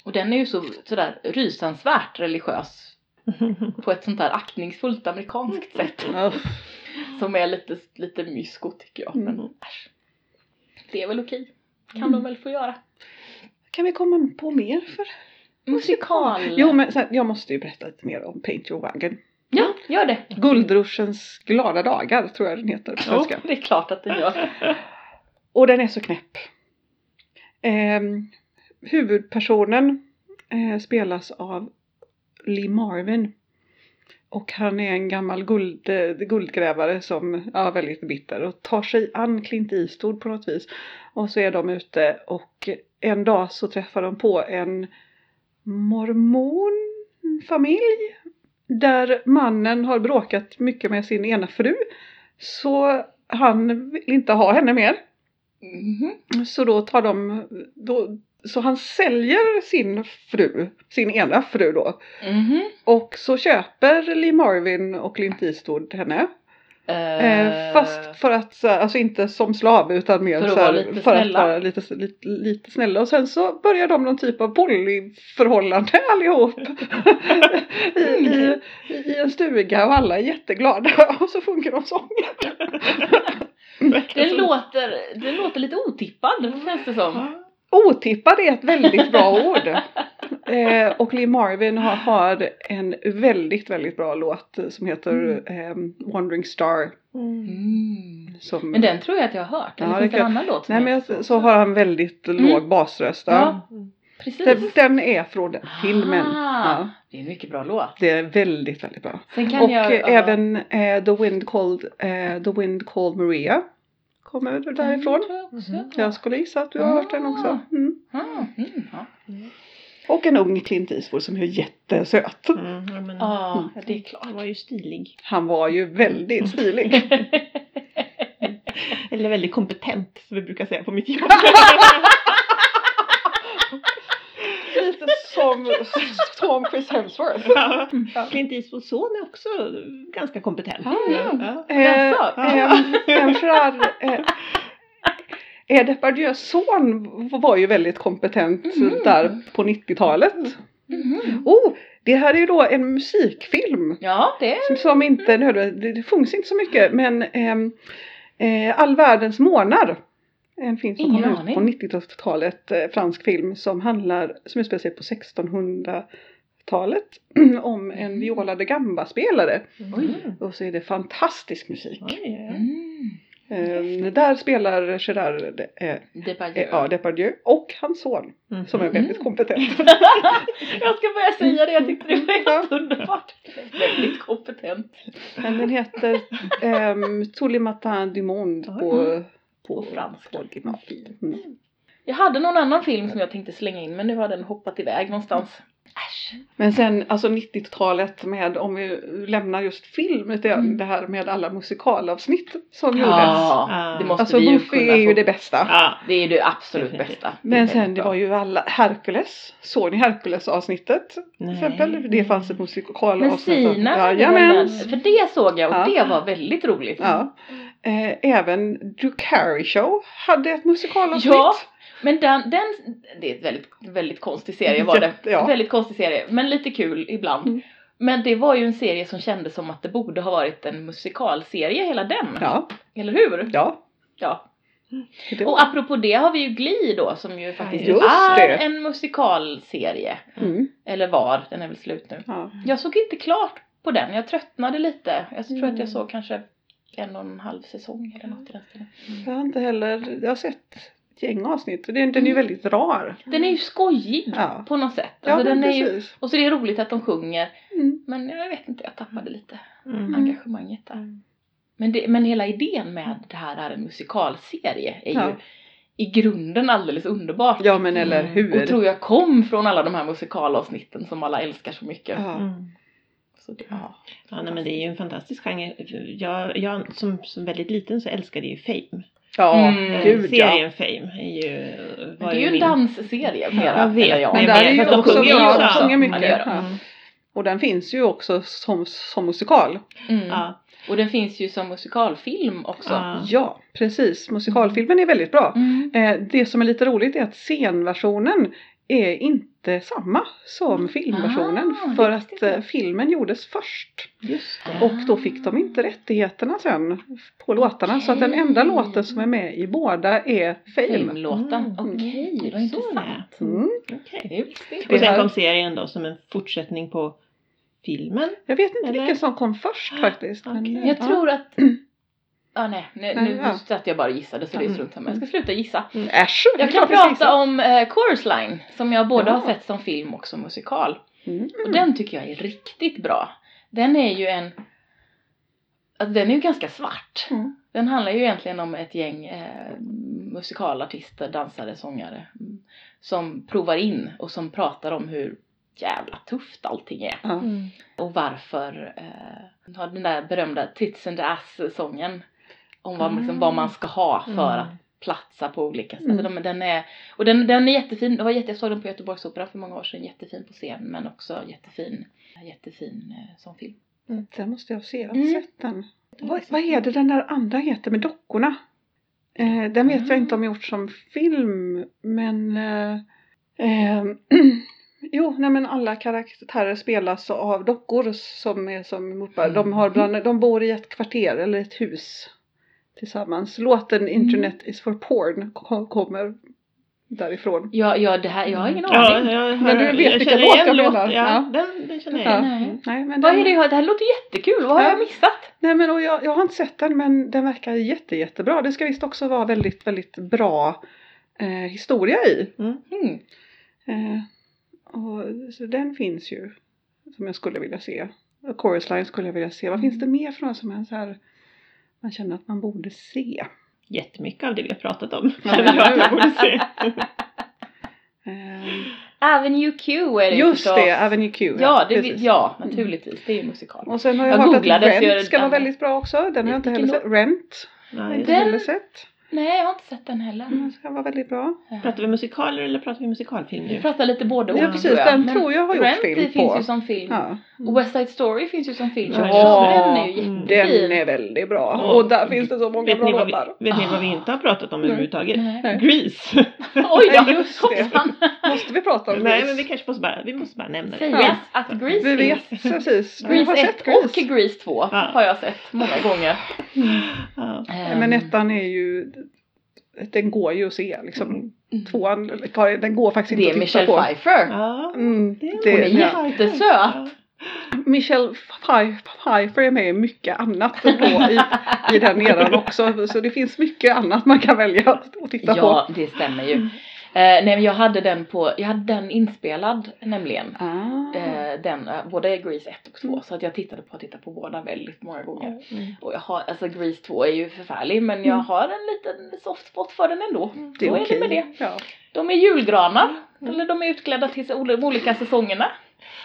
Och den är ju så, sådär rysansvärt religiös Mm. på ett sånt där aktningsfullt amerikanskt Mm. sätt som är lite, lite mysko tycker jag. Men Mm. äsch, det är väl okej. Kan Mm. de väl få göra. Kan vi komma på mer för? Musikal! Jo men sen, jag måste ju berätta lite mer om Paint Your Wagon. Ja, gör det. Guldruschens glada dagar tror jag den heter på Jo, svenska. det är klart att den gör. Och den är så knäpp. Ehm, huvudpersonen eh, spelas av Lee Marvin. Och han är en gammal guld, eh, guldgrävare som ja, är väldigt bitter och tar sig an Clint Eastwood på något vis. Och så är de ute och en dag så träffar de på en mormonfamilj. Där mannen har bråkat mycket med sin ena fru. Så han vill inte ha henne mer. Mhm. Så då tar de, då, så han säljer sin fru, sin ena fru då. Mhm. Och så köper Lee Marvin och Clint Eastwood henne. Eh, fast för att, så- alltså inte som slav utan mer För att så här, vara lite för att snälla. vara lite, lite, lite snälla. Och sen så börjar de någon typ av polyförhållande allihop. I, i, I en stuga och alla är jätteglada och så funkar de så. Det låter, det låter lite otippad känns det som. Ja. Otippad är ett väldigt bra ord. Eh, och Lee Marvin har, har en väldigt, väldigt bra låt som heter Mm. eh, Wandering Star. Mm. Som, Men den tror jag att jag har hört. Eller Ja, finns det det en annan låt som nej, men heter jag, så har han väldigt låg basröst. Ja. Mm. Mm. Precis. Den, den är från den filmen. Ah. Ja, Det är en mycket bra låt. det är väldigt, väldigt bra. Sen kan och jag... eh, ja. Mm, även eh, The, Wind Called, eh, The Wind Called Maria kommer Mm. väl därifrån. Mm. Den tror jag också. Mhm. Jag skulle gissa att du har hört den också. Mm. Ah, mm, ja. Och en ung Clint Eastwood som är jättesöt. Mm, ja, men- Ja, Ah, det är Han var ju stilig. Han var ju väldigt stilig. klart. Eller väldigt kompetent som vi brukar säga på mitt jobb. Lite som, som Chris Hemsworth. Ja. Mm. Ja. Clint Eastwoods son är också ganska kompetent. Ja, ja. Ja. Eh, Jaså? ehm, en Gerard, eh, eh, Depardieu's son var ju väldigt kompetent Mhm. där på 90-talet. Mhm. Oh, det här är ju då en musikfilm Ja, det är... som, som inte nödvändigt, det, det sjungs inte så mycket men ehm, eh, All världens månar. En film som Ingen kom ut på 90-talet, eh, fransk film som handlar, som utspelar sig på 1600-talet om en Mm. Viola da Gamba-spelare. Oj. Och så är det fantastisk musik. Oj, ja. Mm. Ehm, där spelar Gerard eh, eh, Depardieu. ja, Depardieu och hans son Mm. som är väldigt Mhm. kompetent. jag ska börja säga det, jag Mm. tyckte det var helt underbart. Väldigt kompetent. Men den heter ehm, Tous les matins du monde på, på, På franska. på original. Mm. Jag hade någon annan film som jag tänkte slänga in men nu har den hoppat iväg någonstans. Äsch. Men sen alltså 90-talet med, om vi lämnar just film, lite grann, Mm. det här med alla musikalavsnitt som gjordes. Ja, det måste Alltså vi ju Goofy kunna är ju få. det bästa. Ja. Det är det absolut Definitivt. bästa. Men sen det var ju alla, Hercules, såg ni Hercules avsnittet? Till Nej. exempel, det fanns ett musikalavsnitt. Men Sina hade Jajamän! väl den? För det såg jag och Ja. det var väldigt roligt. Ja. Eh, även Drew Carey Show hade ett musikalavsnitt. Ja, Men den, den, det är ett väldigt, väldigt konstig serie var det. Jätte- ja. Väldigt konstig serie, men lite kul ibland. Mm. Men det var ju en serie som kändes som att det borde ha varit en musikalserie hela den. Ja. Eller hur? ja. Ja. Det Och var- apropå det har vi ju Glee då som ju faktiskt just är det. en musikalserie. Mm, Eller var, den är väl slut nu. ja. Jag såg inte klart på den, jag tröttnade lite. Jag tror att Mm. jag såg kanske en och en halv säsong eller något i den stilen. Jag har inte heller, jag har sett ett gäng avsnitt. Den, den är Mm. ju väldigt rar. Den är ju skojig Mm. Ja. på något sätt. Ja, Alltså, men den är ju, precis. och så är det roligt att de sjunger. Mm. Men jag vet inte, jag tappade lite Mm. engagemanget där. Men, det, men hela idén med det här är en musikalserie är Ja. ju i grunden alldeles underbart. Ja men eller Mm. hur. Och tror jag kom från alla de här musikalavsnitten som alla älskar så mycket. ja. Mm. Så det, ja. Ja, nej, men det är ju en fantastisk genre. Jag, jag som, som väldigt liten så älskade ju Fame. Eh, ja Mm. gud ja. Serien Fame är ju... Det var är ju en min- dansserie mera. Jag vet, eller Men Men där jag är ju vet att de också sjunger ju bra, också. de sjunger Ja, det gör mycket. de. Ja. Mm. Och den finns ju också som, som musikal. Mm. Ja. Och den finns ju som musikalfilm också. Ja. Ja precis, musikalfilmen är väldigt bra. Mm. Eh, det som är lite roligt är att scenversionen är inte samma som filmversionen Ah, för det att visste jag Ah. eh, filmen gjordes först Just det. och då fick de inte rättigheterna sen på låtarna så att den enda Okej. låten som är med i båda är Fame. Filmlåten. Mm. Okej, vad Så intressant. Mm. Okej. Det visste inte Och jag. sen kom serien då som en fortsättning på filmen? Jag vet inte Eller? vilken som kom först faktiskt. men, Okej. Mm. ja. Jag tror att... Ah, nej, nu, Nej, nu ja. satt jag bara och gissade så det är Mm. strunt samma. Jag ska sluta gissa. Mm, Äsch, det är Jag kan klart vi ska prata om eh, Chorus Line som jag både Ja. har sett som film och som musikal. Mm. Och den tycker jag är riktigt bra. Den är ju en... Alltså den är ju ganska svart. Mm. Den handlar ju egentligen om ett gäng eh, musikalartister, dansare, sångare mm, som provar in och som pratar om hur jävla tufft allting är. Ja. Mm. Och varför eh, har den där berömda Tits and Ass-sången om vad, liksom, vad man ska ha för Mm. att platsa på olika sätt. Mm. Alltså de, den är, och den, den är jättefin, det var jätte, jag såg den på Göteborgsoperan för många år sedan, jättefin på scen men också jättefin, jättefin eh, som film. Den måste jag se. Jag har Mm. sett den. Vad, vad är det den där andra heter med dockorna? Eh, den vet Ah. jag inte om gjort som film men eh, eh, Jo, nej men alla karaktärer spelas av dockor som är som muppar. Mm. De, har bland, de bor i ett kvarter eller ett hus tillsammans. Låten Mm. Internet is for porn ko- kommer därifrån. Ja, ja det här, jag har ingen Mm. Ja, aning. jag, Men du vet jag vilken känner låt igen jag låten. menar. Ja, Ja. den, den känner jag Ja. igen. Nej. Nej, men Vad den- är det, jag- det här låter jättekul, vad har Ja. jag missat? Nej men och jag, jag har inte sett den men den verkar jätte, jättebra. Det ska visst också vara väldigt, väldigt bra eh, historia i. Mm. Eh, och, så den finns ju som jag skulle vilja se. Och Chorus Line skulle jag vilja se. Vad Mm. finns det mer för någon som är så här, man känner att man borde se? Jättemycket av det vi har pratat om. Ja, Känner jag att jag nu. borde se. Eh, Avenue Q är det just förstås. det, Avenue Q. Ja, det, vi- precis. Mm. ja naturligtvis, det är ju musikal. Och sen har jag, Jag hört att googlade, så jag- Rent ska vara väldigt bra också. Den har jag inte heller Vilken sett. Rent Ja, har jag just inte det. Den- heller sett. Nej, jag har inte sett den heller. Eh. Den ska vara väldigt bra. Pratar vi musikaler eller pratar vi musikalfilm Vi nu? pratar lite både Ja, och, precis. Den tror jag har gjort Rent film finns på. ju som film. Ja. Och West Side Story finns ju som film. Ja, Ja, den är ju just det. Mm. jättefin. Den är väldigt bra. Ja. Och där finns det så många Vet bra ni, vad vi, låtar. vet ni vad vi inte har pratat om Nej. överhuvudtaget? Nej. Grease! Oj då! Nej, just det. hoppsan. Måste vi prata om Nej Grease? men vi kanske måste bara, vi måste bara nämna det. Sägas att Grease Vi finns. vet precis. Vi har Grease 1 sett Grease. och Grease 2 Ja. har jag sett många gånger. Ja. Nej, Men ettan är ju... Den går ju att se liksom. Mm. Tvåan, den går faktiskt Det inte är att titta Michelle på. Pfeiffer. Ja. Mm, Det det, Hon är ja. jättesöt. Michelle Pfeif- Pfeiffer är med i mycket annat då i, i den eran också. Så det finns mycket annat man kan välja att titta på. Mm. Ja, det stämmer ju. Eh, nej men jag hade den på, jag hade den inspelad nämligen. Ah. Eh, den, eh, både Grease 1 och 2 Mm. så att jag tittade på, tittade på båda väldigt många gånger. Mm. Och jag har, alltså Grease 2 är ju förfärlig men jag Mm. har en liten soft spot för den ändå. det är Så okej. är det med det. Ja. De är julgranar. Mm. Eller de är utklädda till så- de olika säsongerna.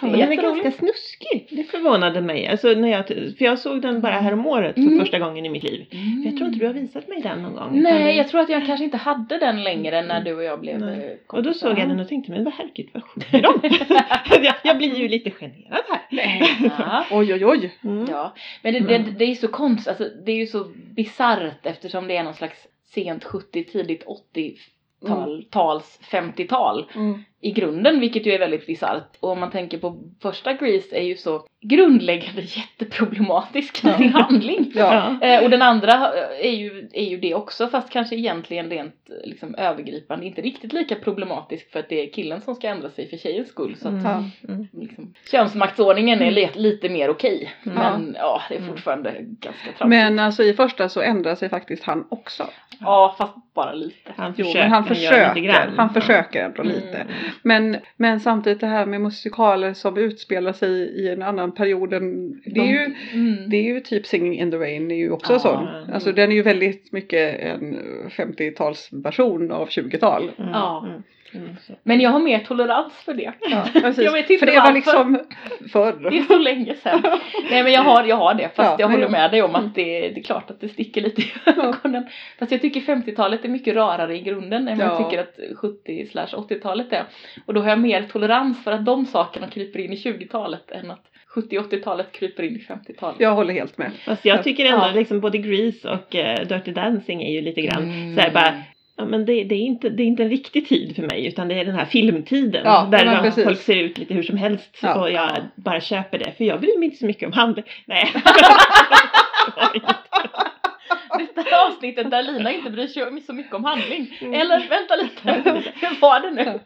Ja, men Den är ganska snuskig. Det förvånade mig. Alltså, när jag, för jag såg den bara häromåret för Mm. första gången i mitt liv. För Jag tror inte du har visat mig den någon gång. Nej, utan- jag tror att jag kanske inte hade den längre när du och jag blev Nej. eh, Och då kompisar. såg jag den och tänkte, men vad herregud vad sjunger de? jag, jag blir ju lite generad här. Ja. Oj, oj, oj. Mm. Ja, men det, det, det är ju så konstigt, alltså, det är ju så bisarrt eftersom det är någon slags sent 70, tidigt Mm. 80-tal, tals 50-tal i grunden, vilket ju är väldigt bisarrt. Och om man tänker på första Grease är ju så grundläggande jätteproblematisk i Ja. sin handling. Ja. Eh, och den andra eh, är ju, är ju det också fast kanske egentligen rent eh, liksom, övergripande inte riktigt lika problematisk för att det är killen som ska ändra sig för tjejens skull. Så att, Mm. Ja. Mm. liksom, könsmaktsordningen Mm. är le- lite mer okej. Mm. Men ja, det är Mm. fortfarande ganska tramsigt. Men alltså i första så ändrar sig faktiskt han också. Ja, fast bara lite. Han Jo, försöker. men han gör lite försöker. grann. Han försöker ändå Mm. lite. Men, men samtidigt det här med musikaler som utspelar sig i en annan period. än- Det är ju, Mm. det är ju typ Singing in the Rain är ju också Ja. sån. Mm. Alltså den är ju väldigt mycket en 50-talsversion av 20-tal. Mm. Ja. Mm. Mm. Så. Men jag har mer tolerans för det. Ja, Jag vet precis. inte För det var varför. liksom Det förr. är så länge sedan. Nej men jag har, jag har det fast Ja, jag men- håller med dig om att det, det är klart att det sticker lite i ögonen. Fast jag tycker 50-talet är mycket rarare i grunden än vad jag Ja. tycker att 70 80-talet är. Och då har jag mer tolerans för att de sakerna kryper in i 20-talet än att 70 80-talet kryper in i 50-talet. Jag håller helt med. Fast jag tycker ändå Ja. liksom både Grease och eh, Dirty Dancing är ju lite grann så här Mm. bara Ja men det, det, är inte, det är inte en riktig tid för mig utan det är den här filmtiden Ja, där men de- precis. folk ser ut lite hur som helst Ja. och jag bara köper det för jag bryr mig inte så mycket om handel. Nej. detta avsnittet där Lina inte bryr sig så mycket om handling. Mm. Eller vänta lite, hur var det nu?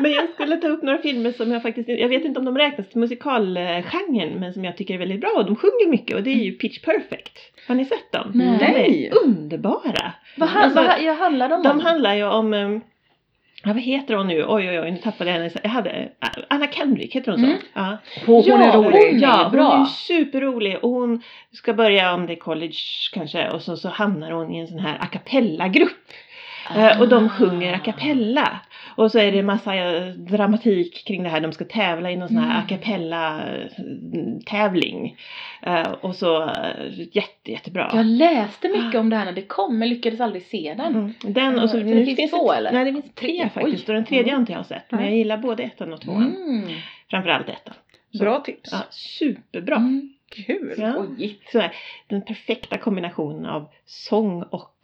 Men jag skulle ta upp några filmer som jag faktiskt, jag vet inte om de räknas till musikalgenren, men som jag tycker är väldigt bra och de sjunger mycket och det är ju Pitch Perfect. Har ni sett dem? Nej. Nej. De är underbara! Vad, han, Alltså, vad jag handlar de om? De handlar ju om, ehm, ja, vad heter hon nu? Oj oj oj, nu tappade jag henne. Jag hade, eh, Anna Kendrick, heter hon så? Mm. Ja. Hon Ja, är rolig. hon- ja, bra. hon är ju superrolig och hon ska börja om det är college kanske och så, så hamnar hon i en sån här a cappella-grupp. Eh, Och Ah. de sjunger a cappella. Och så är det massa eh, dramatik kring det här. De ska tävla i någon sån Mm. här a cappella-tävling. Eh, Och så eh, jätte, jättebra. Jag läste mycket om det här när det kom men lyckades aldrig se den. Mm. Den och så, Det nu finns två, det, eller? Nej det finns tre, Tre, faktiskt. oj. Och den tredje Mm. har inte jag sett. Men Nej. jag gillar både ettan och tvåan. Mm. Framförallt ettan. Bra tips. Ja, superbra. Mm. Kul. Ja. Oj. Så här, den perfekta kombinationen av sång och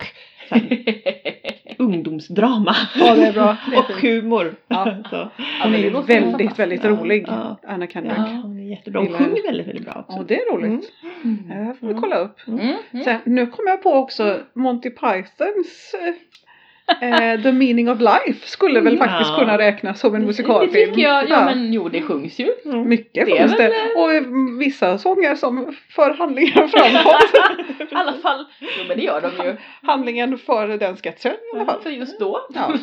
så här, ungdomsdrama. Ja, det är bra. och humor. Ja. Så, Hon är men det ju låter ju väldigt, fantastiskt. väldigt rolig, Ja. Anna Kendrick. Ja. Ja, hon är jättebra. Och Gillar- sjunger väldigt, väldigt bra också. det är roligt. Mm. Mm. Jag får Mm. kolla upp. Mm. Mm. Sen, nu kom jag på också Monty Pythons eh, The Meaning of Life skulle väl Ja. faktiskt kunna räknas som en Mm. Det musikalfilm. tycker jag, ja men jo det sjungs ju. Mm. Mycket det är finns väl, det. Och eh, vissa sånger som för handlingen framåt. I alla fall, jo men det gör de ju. handlingen för den sketchen i alla fall. För just då. Ja.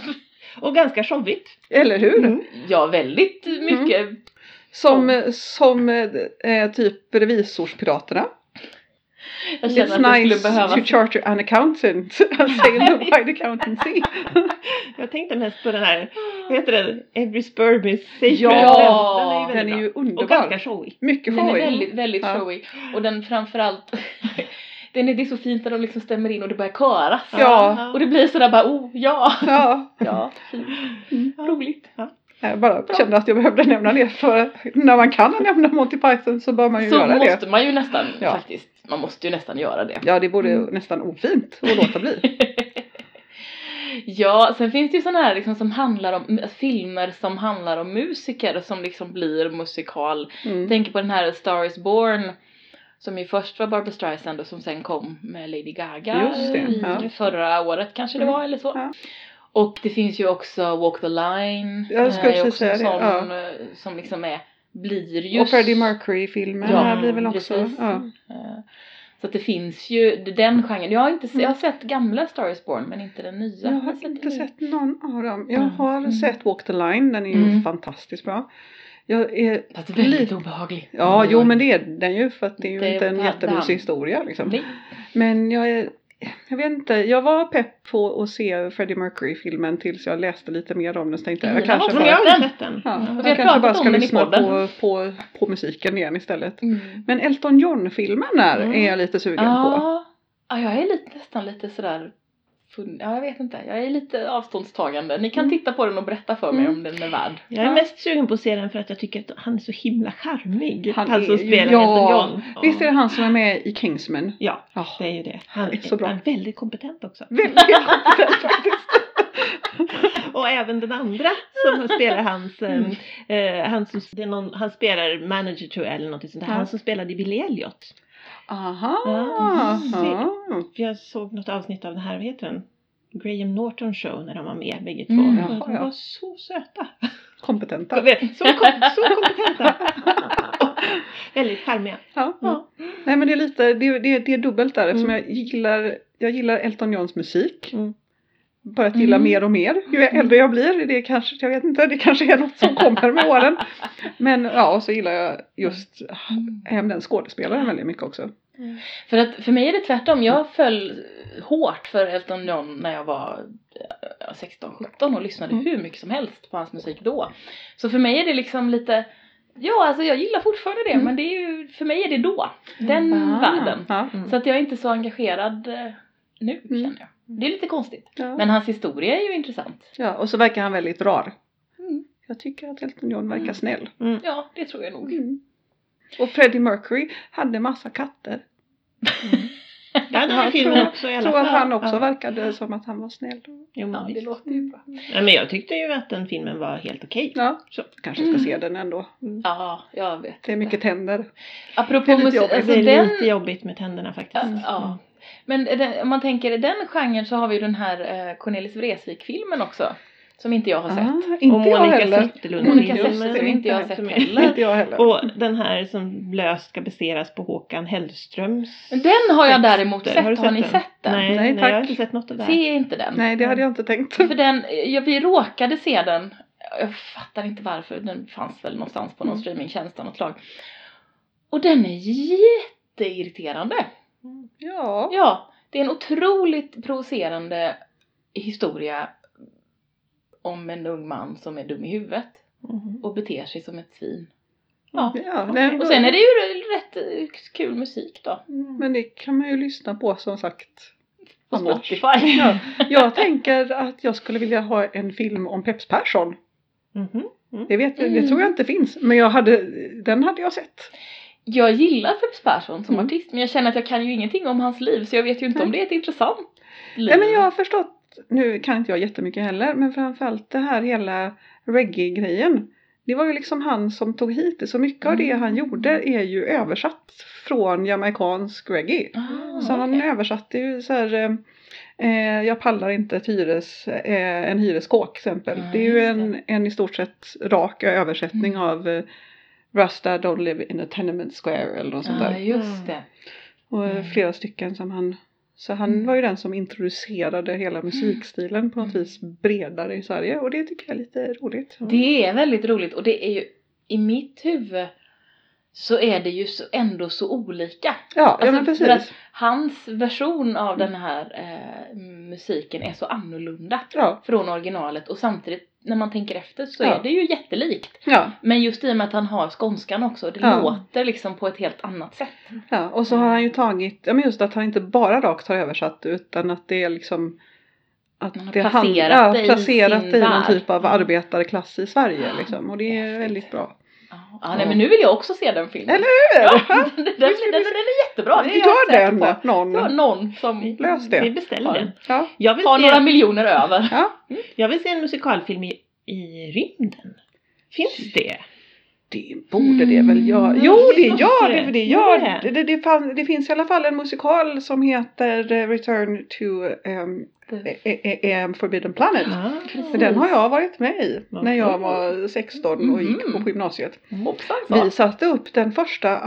Och ganska showigt. Eller hur? Mm. Ja väldigt Mm. mycket. Som, eh, som eh, typ revisorspiraterna. Jag känner att It's det nice skulle to behövas. charter an accountant. Alltså, Say no by accountancy. Jag tänkte mest på den här, vad heter den? Every sperm is safe. Ja, den är ju väldigt Den är bra. ju Och ganska underbar. showig. Mycket Den är skoj. väldigt, väldigt Ja. showy. Och den framförallt, den är, det är så fint när de liksom stämmer in och det börjar köras. Ja. Och det blir sådär bara oh ja. Ja. Mm. Ja, roligt. Jag bara Bra. kände att jag behövde nämna det för när man kan nämna Monty Python så bör man ju Så göra måste det. man ju nästan Ja. faktiskt, man måste ju nästan göra det. Ja, det vore Mm. nästan ofint att låta bli. Ja, sen finns det ju sådana här liksom som handlar om, filmer som handlar om musiker som liksom blir musikal Jag Mm. tänker på den här A Star is Born som ju först var Barbra Streisand och som sen kom med Lady Gaga Just det, i ja. förra året kanske det Mm, var eller så. ja. Och det finns ju också Walk the Line. Jag skulle eh, är precis också säga en det, sån, ja. eh, Som liksom är, blir Och just... Freddie Mercury-filmen Ja, här blir väl också... precis. Ja. Eh, Så att det finns ju den genren. Jag har, inte, se- jag har sett gamla A Star is Born men inte den nya. Mm. Jag har den inte nya. sett någon av dem. Jag Mm. har Mm. sett Walk the Line, den är ju Mm. fantastiskt bra. Jag är, Fast väldigt Lite- obehaglig. ja, jo men det är den ju för att det är ju Det inte en hade jättemysig han. historia liksom. Nej. Men jag är... Jag vet inte, jag var pepp på att se Freddie Mercury-filmen tills jag läste lite mer om den så tänkte jag, jag Lina Mm, var kanske så Men bara jag Mm. har inte den. sett Ja, den. har jag kanske pratat bara om ska den i lyssna på, podden. på, på musiken igen istället. Mm. Men Elton John-filmen där Mm. Ah. är jag lite sugen på. Ja, ja jag är lite, nästan lite sådär fun- Ja, jag vet inte. Jag är lite avståndstagande. Ni kan Mm. titta på den och berätta för mig Mm. om den är värd. Jag är Ja. mest sugen på att se den för att jag tycker att han är så himla charmig. Han Han, är som ju- spelar ja. Elton John. Ja. Visst är det han som är med i Kingsman? Ja, Ja, det är ju det. Han är är, så bra. Mm. han är väldigt kompetent också. väldigt kompetent faktiskt. Och även den andra som spelar hans, eh, eh, han, som, det är någon, han spelar manager tror jag eller något sånt där. Ja. Han som spelade i Billy Elliot. Aha! Ah. Ja, Ja. För jag såg något avsnitt av den här, vad heter den? Graham Norton show när de var med bägge två. Mm. Och Jaha, de ja. var så söta. Kompetenta. Så, vet- så, kom, så kompetenta. Och väldigt charmiga. Ja. Ja. Nej men det är lite, det, det, det är dubbelt där eftersom Mm. jag gillar, jag gillar Elton Johns musik. Mm. Börjat gilla Mm. mer och mer ju äldre jag blir. Det är kanske, jag vet inte, det kanske är något som kommer med åren. Men ja, och så gillar jag just även Ehm, den skådespelaren väldigt mycket också. Mm. För, att, för mig är det tvärtom. Jag föll hårt för Elton John när jag var 16-17 och lyssnade Mm. hur mycket som helst på hans musik då. Så för mig är det liksom lite Ja, alltså jag gillar fortfarande det Mm. Ah. men det är ju, för mig är det då. Den världen. Ja. Mm. Så att jag är inte så engagerad eh, nu Mm. känner jag. Det är lite konstigt. Ja. Men hans historia är ju intressant. ja, och så verkar han väldigt rar. Mm. Jag tycker att Elton John verkar Mm. snäll. Mm. Mm. Ja, det tror jag nog. Och Freddie Mercury hade massa katter. Ja, den här Jag filmen tror- också i Jag alla tror fall. att han också Ja. verkade som att han var snäll. Jo, men Ja, det visst. låter ju bra. Ja, men jag tyckte ju att den filmen var helt okej. Ja, Så. kanske ska Mm. se den ändå. Ja, jag vet. Det är mycket tänder. Apropå Det är lite musik, jobbigt. alltså det är Mm. den... lite jobbigt med tänderna faktiskt. Ja, ja. Men är det- om man tänker i den genren så har vi ju den här eh, Cornelis Vreeswijk-filmen också. Som inte jag har sett. Ah, inte och jag Monica heller. Mm. Zetterlund. Monica just Zetterlund det, som inte jag har inte sett som är- heller. Inte jag heller. Och den här som löst ska baseras på Håkan Hellströms. Men Den har jag däremot Har sett. du Har, sett ni den? sett den? Nej, Nej, nej, tack. jag har inte sett något av det här. Se inte den. Nej, det hade jag inte tänkt. För den, ja, vi råkade se den. Jag fattar inte varför. Den fanns väl någonstans på någon Mm. streamingtjänst av något slag. Och den är jätteirriterande. Ja. Ja, det är en otroligt provocerande historia om en ung man som är dum i huvudet Mm. Mhm. och beter sig som ett svin. Ja. Ja, Okej. nej, Och sen är det ju rätt eh, kul musik då. Men det kan man ju lyssna på som sagt. På annars. Spotify. Ja, jag tänker att jag skulle vilja ha en film om Peps Persson. Mhm. Det, vet, jag- Mm. det tror jag inte finns, men jag hade, den hade jag sett. Jag gillar Peps Persson som Mm. artist men jag känner att jag kan ju ingenting om hans liv så jag vet ju inte om det är ett intressant liv. Nej, men jag har förstått, nu kan inte jag jättemycket heller, men framförallt det här hela reggae-grejen. Det var ju liksom han som tog hit det, så mycket av det han gjorde är ju översatt från jamaicansk reggae. Ah, Så han okej. översatte ju så här, eh, eh, jag pallar inte ett hyres, eh, en hyreskåk till exempel. Nej, det är ju just en, en i stort sett rak översättning Mm. av eh, Rasta don't live in a tenement square eller något sånt Ja, där. just det. Och eh, Mm. flera stycken som han så han var ju den som introducerade hela musikstilen på något Mm. vis bredare i Sverige och det tycker jag är lite roligt. Det är väldigt roligt och det är ju i mitt huvud så är det ju så, ändå så olika. Ja, Alltså, ja men precis. för att- Hans version av den här eh, musiken är så annorlunda Ja, från originalet och samtidigt när man tänker efter så Ja. är det ju jättelikt. ja, Men just i och med att han har skånskan också, det Ja. låter liksom på ett helt annat sätt. ja. Och så har han ju tagit, ja men just att han inte bara rakt har översatt utan att det är liksom att Han har det placerat ja, det i placerat sin det i någon värld. typ av Mm. arbetarklass i Sverige Ah, liksom. Och det är häftigt. väldigt bra. Ja, nej, men nu vill jag också se den filmen. Eller hur? Ja, den, den, den, ska vi den är jättebra, det är Vi jag tar säker den på. någon. Ja, någon som Lös det. Vi Ja. beställer den. Ja, Jag vill, har se, några miljoner över. ja. jag vill se en musikalfilm i, i rymden. Finns det? Det borde det väl göra? Mm, Jo, det det gör måste det. för det. Det, gör Gör det. det. Det, det, fan, det finns i alla fall en musikal som heter eh, Return to um, e, ehm, Forbidden Planet. Ja. För den har jag varit med i när jag Mhm. var 16 och gick på Mhm. gymnasiet. Hoppsan Vi sa. satte upp den första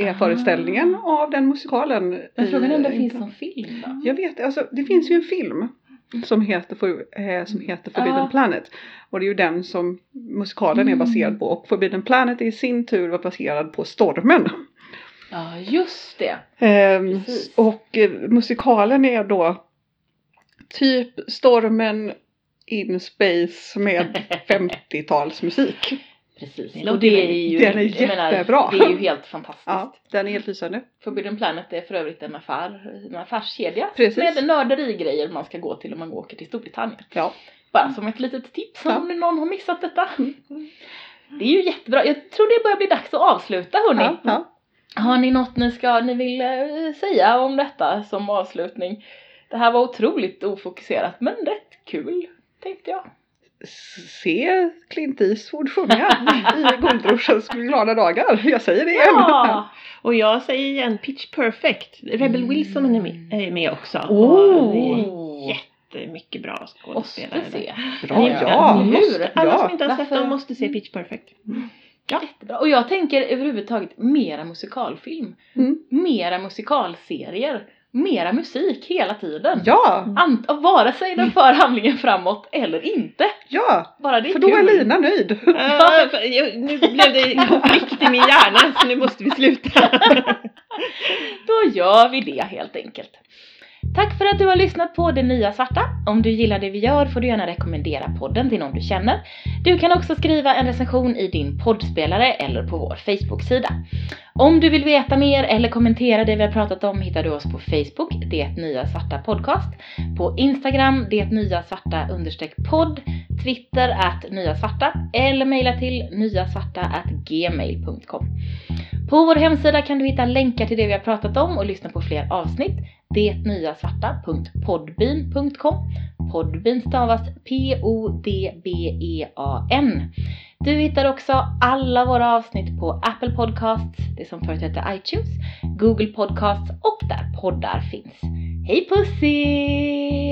amatörföreställningen av den musikalen. Ah. Men i- frågan är om det finns någon film då? jag vet alltså, det finns ju en film som heter, For, eh, som heter Forbidden Ja. Planet. Och det är ju den som musikalen är Ah. Mm. baserad på. Och Forbidden Planet i sin tur var baserad på Stormen. Ja, just det. Ehm, Precis. och eh, musikalen är då typ Stormen in Space med 50-talsmusik. Precis. Det och det låter är ju, Den är jag menar, jättebra. det är ju helt fantastiskt. Ja, den är helt lysande. Forbidden Planet är för övrigt en, affär, en affärskedja Precis. med nörderigrejer man ska gå till om man åker till Storbritannien. Ja. Bara som ett litet tips Ja. om någon har missat detta. Mm. Det är ju jättebra. Jag tror det börjar bli dags att avsluta hörni. Ja, ja. Har ni något ni, ska, ni vill eh, säga om detta som avslutning? Det här var otroligt ofokuserat men rätt kul tänkte jag. Se Clint Eastwood sjunga i Guldruschens glada dagar. Jag säger det igen. Ja! Och jag säger igen Pitch Perfect. Rebel Mm. Wilson är med, är med också. Och det är Oh. jättemycket bra Måste skådespelare. där. se. Bra, Ja, ja. eller hur? Måste- Alla ja. som inte har sett Varför- dem måste se Pitch Perfect. Ja. Jättebra. Och jag tänker överhuvudtaget mera musikalfilm. Mm. Mera musikalserier. Mera musik hela tiden. Ja, Ant- vare sig den för handlingen framåt eller inte. ja, Bara det är för då kul. är Lina nöjd. Ja, Ah, för- jag- nu blev det konflikt i min hjärna så nu måste vi sluta. Då gör vi det helt enkelt. Tack för att du har lyssnat på Det Nya Svarta. Om du gillar det vi gör får du gärna rekommendera podden till någon du känner. Du kan också skriva en recension i din poddspelare eller på vår Facebook-sida. Om du vill veta mer eller kommentera det vi har pratat om hittar du oss på Facebook, Det Nya Svarta Podcast, på Instagram, Det Nya Svarta understreck podd, Twitter att Nya Svarta eller mejla till nyasvarta at gmail.com. På vår hemsida kan du hitta länkar till det vi har pratat om och lyssna på fler avsnitt. Detnyasvarta.podbean.com Podbean stavas P-O-D-B-E-A-N. E Du hittar också alla våra avsnitt på Apple Podcasts, det som förut hette iTunes, Google Podcasts och där poddar finns. Hej pussy!